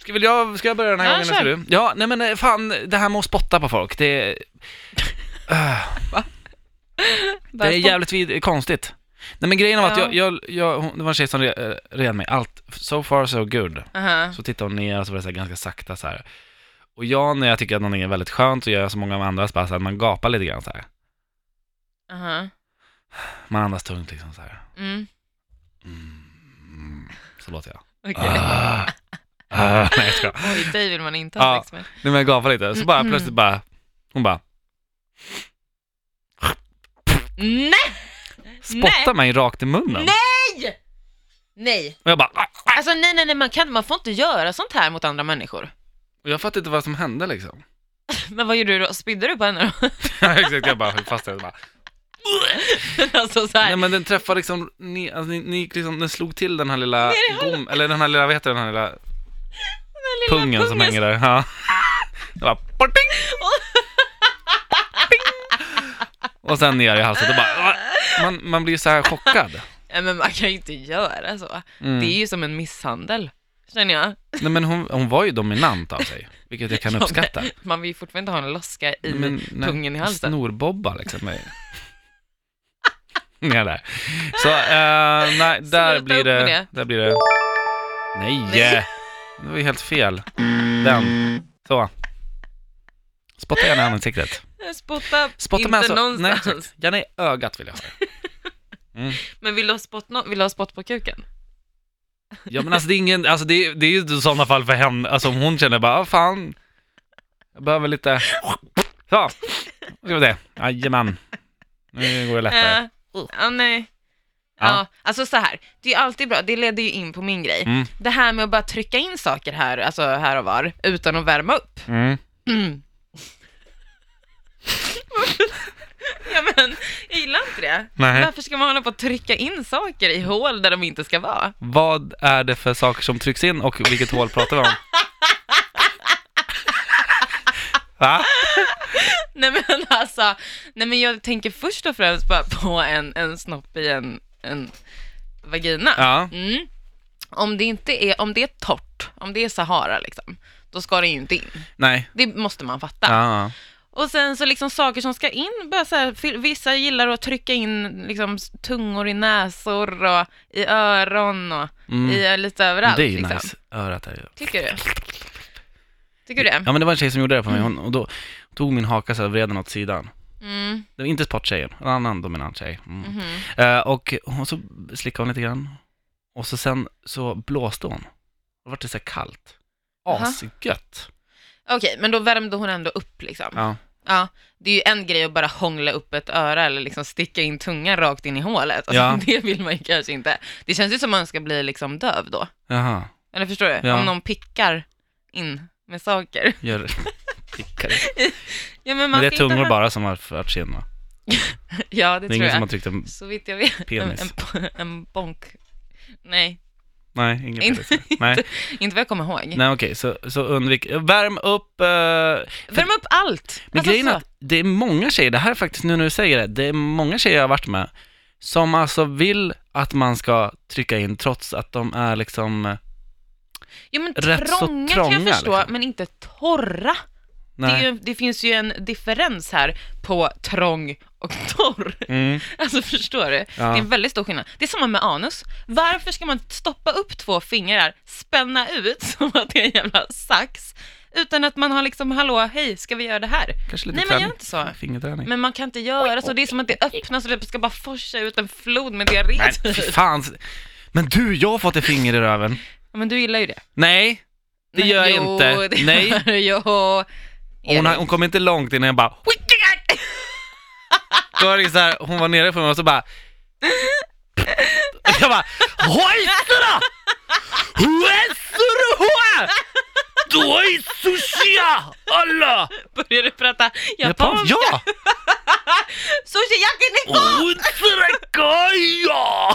Ska, väl jag, ska jag börja den här Ja, gången? kör. eller ska du? Ja, nej men eh, fan, det här med att spotta på folk, det är... eh, Öh. Det är Bara- jävligt vid, konstigt. Nej men grejen var att Ja. jag, jag, jag hon, det var en tjej som re, eh, red mig, allt, so far so good. Aha. Så tittade hon ner och så var det så här ganska sakta så här. Och jag, när jag tycker att någonting är väldigt skönt, så gör jag som många andra, så bara så här, man gapar lite grann så här. Aha. Man andas tungt liksom så här. Mm. Mm, så låter jag. Okej. Ah. Ah, nej jag skojar. Oj, dig vill man inte ha Ja. sex med. Nej men jag gapar lite, så bara Mm. plötsligt bara, hon bara Nej! spottar mig rakt i munnen. Nej! Nej. Och jag bara, "Ah." Alltså nej, nej, nej, man, kan, man får inte göra sånt här mot andra människor. och jag fattade inte vad som hände liksom. Men vad gjorde du då? Spydde du på henne då? Ja, Exakt, jag bara höll fast henne och bara, alltså så här. Nej men den träffade liksom, ni, alltså, ni, ni gick liksom, den slog till den här lilla Ner i gom, eller den här lilla, vad heter den här lilla, Den lilla pungen, som hänger där. Ja. Det bara, porting! Och sen ner i halsen, det bara, "Ah." man, man blir ju så här chockad. Nej, men man kan ju inte göra så. Mm. Det är ju som en misshandel, känner jag. Nej men hon, hon var ju dominant av sig, vilket jag kan Ja, men uppskatta. Man vill ju fortfarande ha en loska i Men när- pungen i halsen. Snorbobba liksom. mig. Ner där. Så, eh, nej, där Sluta blir upp med det, det. där blir det, nej, Nej. det var ju helt fel. Den, så. Spotta gärna i ansiktet. Spotta, Spotta inte mig alltså, nej, någonstans. exakt. gärna i ögat vill jag ha det. Mm. men vill du, ha spott nå- vill du ha spott på kuken? Ja men alltså det är ingen, alltså det, är- det är ju i sådana fall för henne, alltså om hon känner bara, ah, fan, jag behöver lite, så, då ska vi se, jajamän, nu går det lättare. Eh, ja, nej. Ja. Ja. alltså så här, det är ju alltid bra, det leder ju in på min grej. Mm. Det här med att bara trycka in saker här, alltså här och var, utan att värma upp. Mm. Mm. ja men, jag gillar inte det. Nej. Varför ska man hålla på att trycka in saker i hål där de inte ska vara? Vad är det för saker som trycks in och vilket hål pratar vi om? Va? Nej men alltså, nej men jag tänker först och främst bara på en, en snopp i en, en vagina. Ja. Mm. Om det inte är, om det är torrt, om det är Sahara liksom, då ska det ju inte in. Nej. Det måste man fatta. Ja. Och sen så liksom saker som ska in, bara så här, fil- vissa gillar att trycka in liksom s- tungor i näsor och i öron och Mm. i eh, lite överallt. Det är ju liksom. nice. Örat är ju... Tycker du? Tycker du det? Ja men det var en tjej som gjorde det på mig, hon, och då tog min haka så här, vred den åt sidan. Mm. Det var inte sporttjejen, en annan dominant tjej. Mm. Mhm. Eh, och hon så slickade hon lite grann. Och så sen så blåste hon. Då var det så här kallt. Aha. Asgött. Okej, men då värmde hon ändå upp liksom. Ja. Ja. det är ju en grej att bara hångla upp ett öra eller liksom sticka in tungan rakt in i hålet. Alltså, Ja. Det vill man ju kanske inte. Det känns ju som man ska bli liksom döv då. Jaha. Eller förstår du? Ja. Om någon pickar in med saker. Gör... Tickar. Ja, men man Men det är ska inte tungor ha- bara som har förts in va? Ja, det, Det är tror ingen jag. som har tryckt en... Så vitt jag vet. Penis. En, en, en bonk. Nej, Nej, ingen Inte- penis. Nej. inte vad jag kommer ihåg. Nej okej, så, så undvik, värm upp, eh, Värm upp allt! Alltså, men grejen är så. att det är många tjejer, det här är faktiskt nu när du säger det, det är många tjejer jag har varit med som alltså vill att man ska trycka in trots att de är liksom, eh, jo, men rätt så trånga, kan trånga, jag förstå, liksom. men inte torra. Det, är nej. ju, det finns ju en differens här på trång och torr. Mm, Alltså förstår du? Ja. Det är en väldigt stor skillnad. Det är samma med anus. Varför ska man stoppa upp två fingrar, spänna ut som att det är en jävla sax, utan att man har liksom, hallå, hej, ska vi göra det här? kanske lite Nej, man gör inte så. Fingerträning. Men man kan inte göra så, det är som att det öppnas och det ska bara forsa ut en flod med diarré. Nej, typ. fy fan. Men du, jag har fått ett finger i röven. Ja, Men du gillar ju det. Nej, det gör jag jo, inte. det Nej, gör jag. hon, har- hon kom inte långt innan jag bara, då var det så här, hon var nere för mig och så bara Jag bara Hoisura! Hoisura hoa! Doi sushia! Alla! Börjar du prata Japan? japanska? Ja! Sushi yakiniko! Hoisura kaya!